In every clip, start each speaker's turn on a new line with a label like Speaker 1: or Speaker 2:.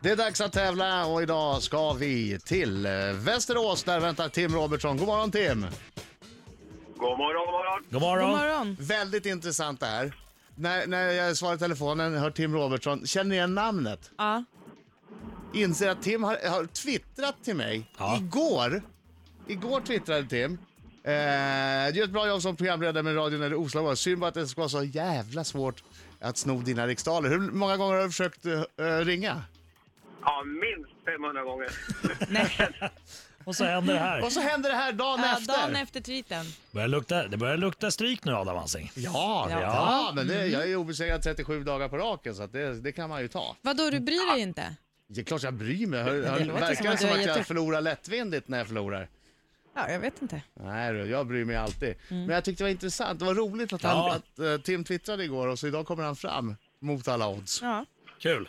Speaker 1: Det är dags att tävla och idag ska vi till eh, Västerås. Där väntar Tim Robertsson. God morgon Tim!
Speaker 2: God morgon, god morgon.
Speaker 3: God morgon.
Speaker 4: God morgon.
Speaker 1: Väldigt intressant det här. När, när jag svarar i telefonen hör Tim Robertsson, känner igen namnet.
Speaker 4: Ja.
Speaker 1: Inser att Tim har, har twittrat till mig
Speaker 3: Ja.
Speaker 1: igår. Igår twittrade Tim. Eh, du gör ett bra jobb som programledare med radion eller oslagbar. Synd bara att det ska vara så jävla svårt att sno dina riksdaler. Hur många gånger har du försökt eh, ringa?
Speaker 2: Ja, minst 500 gånger.
Speaker 3: Och så händer det här.
Speaker 1: Och så händer det här dagen
Speaker 4: Ja,
Speaker 1: efter.
Speaker 4: dagen efter tweeten.
Speaker 3: Börjar lukta, det börjar lukta stryk nu Adam Alsing.
Speaker 1: Ja, ja.
Speaker 4: Ja.
Speaker 1: men det, jag är obesegrad 37 dagar på raken så att det, det kan man ju ta.
Speaker 4: Vadå, du bryr dig inte?
Speaker 1: Det är klart jag bryr mig. Hör, hör,
Speaker 4: låter
Speaker 1: verkar det typ som
Speaker 4: som att du har
Speaker 1: att jag
Speaker 4: gett-
Speaker 1: förlorar lättvindigt när jag förlorar?
Speaker 4: Ja, jag vet inte.
Speaker 1: Nej du, jag bryr mig alltid. Men jag tyckte det var intressant. Det var roligt att, han,
Speaker 3: Ja.
Speaker 1: att eh, Tim twittrade igår och så idag kommer han fram mot alla odds.
Speaker 4: Ja.
Speaker 3: Kul.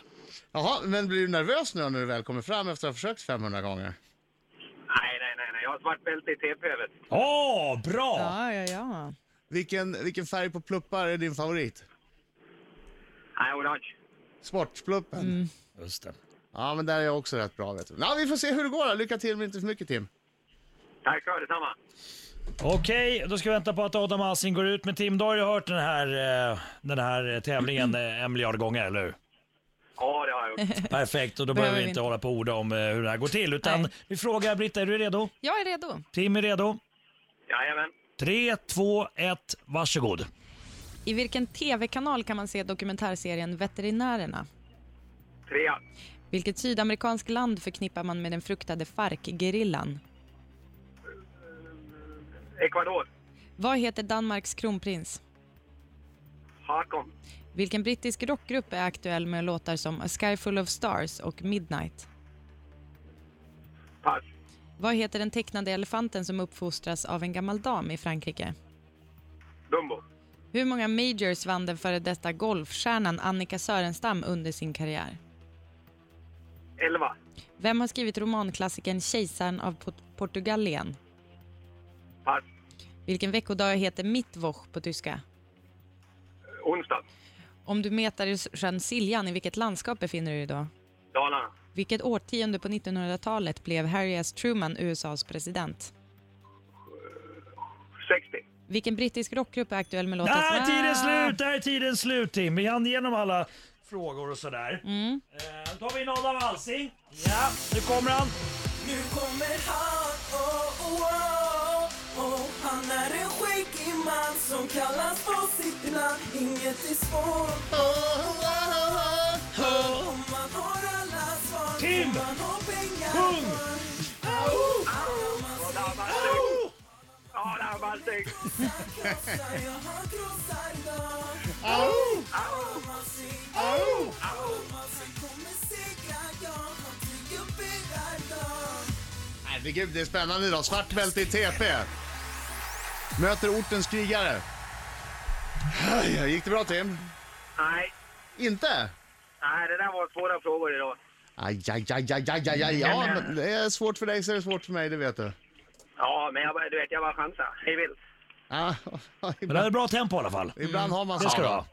Speaker 1: Jaha, men blir du nervös nu när du väl kommer fram efter att ha försökt 500 gånger?
Speaker 2: Nej, nej, nej, nej. Jag har svart bälte i TP, vet du.
Speaker 3: Åh, bra!
Speaker 4: Ja, ja, ja.
Speaker 1: Vilken, vilken färg på pluppar är din favorit?
Speaker 2: Nej, orange.
Speaker 1: Sportpluppen?
Speaker 3: Just det.
Speaker 1: Ja, men där är jag också rätt bra vet du. Ja, vi får se hur det går. då. Lycka till men inte för mycket Tim.
Speaker 2: Tack, ha detsamma.
Speaker 3: Okej, då ska vi vänta på att Adam Alsing går ut. Men Tim, du har ju hört den här, eh, den här eh, tävlingen eh, en miljard gånger, eller hur?
Speaker 2: Ja, det har jag gjort.
Speaker 3: Perfekt, och då behöver vi inte hålla på och orda om eh, hur det här går till. Utan
Speaker 4: Nej.
Speaker 3: vi frågar Britta, är du redo?
Speaker 4: Jag är redo.
Speaker 3: Tim är redo.
Speaker 2: Jajamän.
Speaker 3: 3, 2, 1, varsågod.
Speaker 4: I vilken tv-kanal kan man se dokumentärserien Veterinärerna?
Speaker 2: Trea.
Speaker 4: Vilket sydamerikanskt land förknippar man med den fruktade Farc-gerillan?
Speaker 2: Ecuador.
Speaker 4: Vad heter Danmarks kronprins?
Speaker 2: Hakon.
Speaker 4: Vilken brittisk rockgrupp är aktuell med låtar som A Sky Full of Stars och Midnight?
Speaker 2: Pass.
Speaker 4: Vad heter den tecknade elefanten som uppfostras av en gammal dam i Frankrike?
Speaker 2: Dumbo.
Speaker 4: Hur många majors vann den före detta golfstjärnan Annika Sörenstam under sin karriär?
Speaker 2: Elva.
Speaker 4: Vem har skrivit romanklassikern Kejsaren av Port- Portugalien?
Speaker 2: Pass.
Speaker 4: Vilken veckodag heter Mittwoch på tyska?
Speaker 2: Onsdag.
Speaker 4: Om du metar i sjön Siljan, i vilket landskap befinner du dig då?
Speaker 2: Dalarna.
Speaker 4: Vilket årtionde på 1900-talet blev Harry S. Truman USAs president?
Speaker 2: 60.
Speaker 4: Vilken brittisk rockgrupp är aktuell med låten...
Speaker 3: Där är tiden
Speaker 4: Ah!
Speaker 3: slut! Där är tiden slut Tim. Vi hann igenom alla frågor och sådär. Mm. Eh, då tar vi in Adam Alsing. Ja, nu kommer han.
Speaker 5: Nu kommer han, oh, oh, oh, oh. Han är en skäggig man som kallas på sitt namn Inget är svårt om man har alla svar
Speaker 3: Tim!
Speaker 5: om man har pengar
Speaker 3: Sjung!
Speaker 5: för. Alla man
Speaker 2: Adam Alsing.
Speaker 5: ser krossar, ja, han krossar dem. Alla man ser, alla man ser kommer segra, ja, han triumferar dem.
Speaker 1: Herregud, det är spännande idag. Svart bälte i TP. Möter ortens krigare. Aj, Gick det bra Tim?
Speaker 2: Nej,
Speaker 1: Inte?
Speaker 2: nej, det där var svåra frågor idag.
Speaker 1: Aj, aj, aj, aj, aj, aj, aj. Ja, men det är svårt för dig så är det svårt för mig, det vet du.
Speaker 2: Ja, men jag, bara- du vet, jag bara chansar. Hej vilt.
Speaker 1: Ja,
Speaker 3: Men det
Speaker 1: ibland,
Speaker 3: hade bra tempo i alla fall.
Speaker 1: ibland har man
Speaker 3: Det ska du
Speaker 1: så.
Speaker 3: ha.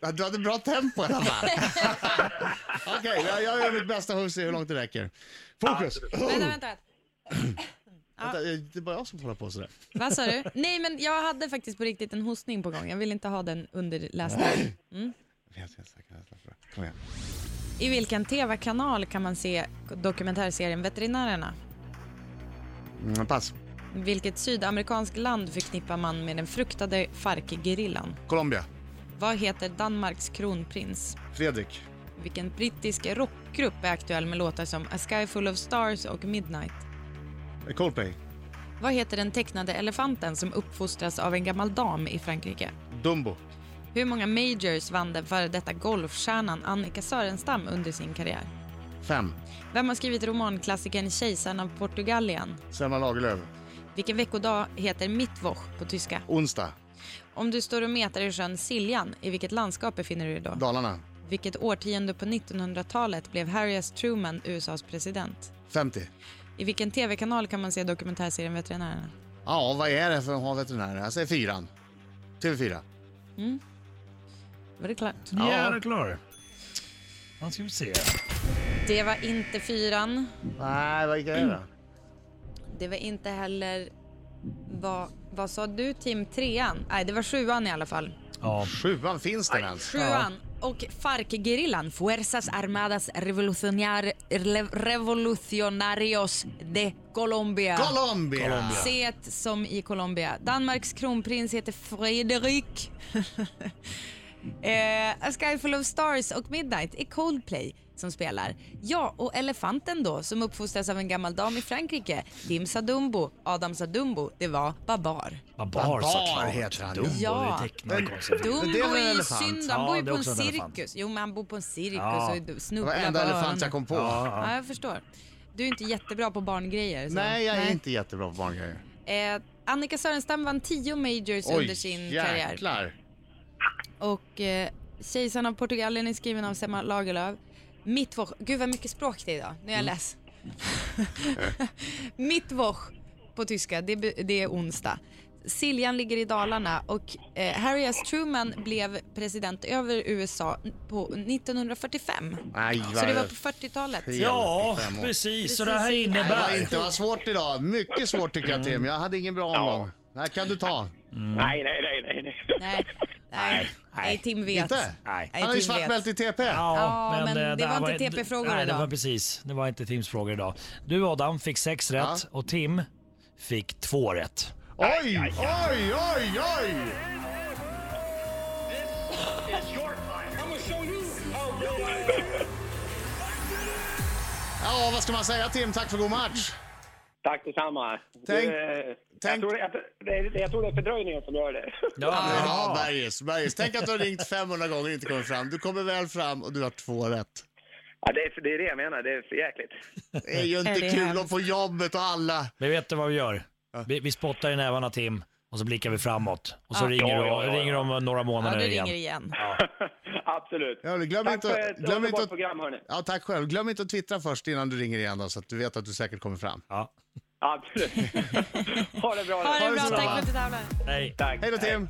Speaker 1: Ja, Du hade bra tempo i alla fall. Okej, jag, jag gör mitt bästa för att se hur långt det räcker. Fokus! Oh!
Speaker 4: Vänta,
Speaker 3: Oh.
Speaker 4: vänta.
Speaker 1: Vänta, Det är bara jag som håller på sådär.
Speaker 4: Vad sa du? Nej, men jag hade faktiskt på riktigt en hostning på gång. Jag vill inte ha den under läsningen.
Speaker 1: Jag vet, jag är säker, jag släpper det. Kom igen.
Speaker 4: I vilken tv-kanal kan man se dokumentärserien Veterinärerna?
Speaker 1: Mm, Pass.
Speaker 4: Vilket sydamerikanskt land förknippar man med den fruktade Farc-gerillan?
Speaker 1: Colombia.
Speaker 4: Vad heter Danmarks kronprins?
Speaker 1: Fredrik.
Speaker 4: Vilken brittisk rockgrupp är aktuell med låtar som A Sky Full of Stars och Midnight?
Speaker 1: Coldplay.
Speaker 4: Vad heter den tecknade elefanten som uppfostras av en gammal dam i Frankrike?
Speaker 1: Dumbo.
Speaker 4: Hur många majors vann den före detta golfstjärnan Annika Sörenstam under sin karriär?
Speaker 1: Fem.
Speaker 4: Vem har skrivit romanklassikern Kejsaren av Portugalien?
Speaker 1: Selma Lagerlöf.
Speaker 4: Vilken veckodag heter Mittwoch på tyska?
Speaker 1: Onsdag.
Speaker 4: Om du står och metar i sjön Siljan, i vilket landskap befinner du dig då?
Speaker 1: Dalarna.
Speaker 4: Vilket årtionde på 1900-talet blev Harry S. Truman USAs president?
Speaker 1: 50.
Speaker 4: I vilken tv-kanal kan man se dokumentärserien Veterinärerna?
Speaker 1: Ja, vad är det för att ha veterinärer? Jag säger fyran. TV4.
Speaker 4: Var det klart?
Speaker 3: Ja, det är klart. Han ska vi se.
Speaker 4: Det var inte fyran.
Speaker 1: Nej, vad gick det då?
Speaker 4: Det var inte heller... Vad, vad sa du Tim? Trean? Nej, det var sjuan i alla fall.
Speaker 3: Ja.
Speaker 1: Sjuan, finns den ens?
Speaker 4: Sjuan. Och FARC-gerillan, Fuerzas Armadas Revolucionar, Re- Revolucionarios de Colombia.
Speaker 1: Colombia!
Speaker 4: C som i Colombia. Danmarks kronprins heter Frederik. eh, A Sky Full of Stars och Midnight är Coldplay som spelar. Ja, och elefanten då som uppfostras av en gammal dam i Frankrike. Dim Sadumbo, Adam Sadumbo, det var Babar.
Speaker 3: Babar såklart.
Speaker 1: heter han.
Speaker 3: Dumbo,
Speaker 4: Ja.
Speaker 3: det är tecknat konstigt.
Speaker 4: Dumbo
Speaker 1: Det är väl en
Speaker 4: är ju
Speaker 1: elefant?
Speaker 4: synd, han
Speaker 3: Ja,
Speaker 4: bor ju
Speaker 3: det
Speaker 4: på
Speaker 3: är
Speaker 4: en
Speaker 3: också en elefant.
Speaker 4: cirkus. Jo, men han bor på en cirkus
Speaker 3: Ja.
Speaker 4: och är
Speaker 1: Det
Speaker 4: snubblar
Speaker 1: var enda
Speaker 4: på
Speaker 1: elefant
Speaker 4: öronen.
Speaker 1: jag kom på.
Speaker 4: Ja, jag förstår. Du är inte jättebra på barngrejer. Så.
Speaker 1: Nej, jag är inte jättebra på barngrejer.
Speaker 4: Eh, Annika Sörenstam vann 10 majors under sin karriär.
Speaker 1: jäklar.
Speaker 4: Och eh, Kejsaren av Portugalien är skriven av Selma Lagerlöf. Mittwoch, gud vad mycket språk det är idag, nu är jag
Speaker 1: Mm.
Speaker 4: less. Mittwoch på tyska, det, be- det är onsdag. Siljan ligger i Dalarna och eh, Harry S Truman blev president över USA på 1945.
Speaker 1: Nej,
Speaker 4: Så
Speaker 1: vad-
Speaker 4: det var på 40-talet.
Speaker 1: Fel.
Speaker 3: Ja,
Speaker 1: Fem år.
Speaker 3: precis. Så det här
Speaker 4: Precis.
Speaker 1: Nej, det var
Speaker 3: innebär...
Speaker 1: inte var svårt idag. Mycket svårt tycker
Speaker 4: Mm.
Speaker 1: jag Tim. Jag hade ingen bra omgång. Det här kan du ta.
Speaker 2: Nej, nej, nej, nej. nej.
Speaker 4: Nej, nej, nej, Tim vet.
Speaker 1: Inte?
Speaker 3: Nej.
Speaker 1: Han har ju
Speaker 4: Tim
Speaker 1: svart
Speaker 4: vet.
Speaker 1: bälte i TP.
Speaker 4: Ja, men
Speaker 3: eh,
Speaker 4: det
Speaker 3: här
Speaker 4: var inte TP-frågor
Speaker 3: Nej, det
Speaker 4: idag.
Speaker 3: var precis. Det var inte Tims frågor idag. Du Adam fick sex rätt och Tim fick två rätt.
Speaker 1: Oj, oj, oj, oj!
Speaker 5: Oh,
Speaker 1: Ja, vad ska man säga Tim? Tack för god match.
Speaker 2: Tack detsamma.
Speaker 1: Tänk-
Speaker 2: det,
Speaker 1: tänk-
Speaker 2: jag, tror det, jag, det, jag tror det är fördröjningen som gör det.
Speaker 1: Ja, Bergis, Bergis. Tänk att du har ringt 500 gånger och inte kommit fram. Du kommer väl fram och du har två rätt.
Speaker 2: Ja, det, är- det är det jag menar, det är för jäkligt.
Speaker 1: Det är ju inte
Speaker 4: Är det
Speaker 1: kul
Speaker 4: hemskt?
Speaker 1: att få jobbet och alla.
Speaker 3: Men vet du vad vi gör? Vi, vi spottar i nävarna Tim och så blickar vi framåt. Och så ringer,
Speaker 2: Ja,
Speaker 3: du,
Speaker 2: ja, ja, ja.
Speaker 3: ringer de om några
Speaker 4: Ja,
Speaker 3: månader
Speaker 4: du
Speaker 3: igen.
Speaker 4: ringer igen.
Speaker 2: Absolut.
Speaker 1: Ja, glöm
Speaker 2: Tack
Speaker 1: inte-
Speaker 2: för ett
Speaker 1: glöm inte
Speaker 2: underbart
Speaker 1: att-
Speaker 2: program, hörni.
Speaker 1: Ja, tack själv. Glöm inte att twittra först innan du ringer igen då, så att du vet att du säkert kommer fram.
Speaker 3: Ja.
Speaker 2: Absolut. ha det bra.
Speaker 4: Ha det bra,
Speaker 1: detsamma.
Speaker 4: tack för att du tävlade.
Speaker 3: Hej.
Speaker 2: Tack.
Speaker 1: Hej då Tim!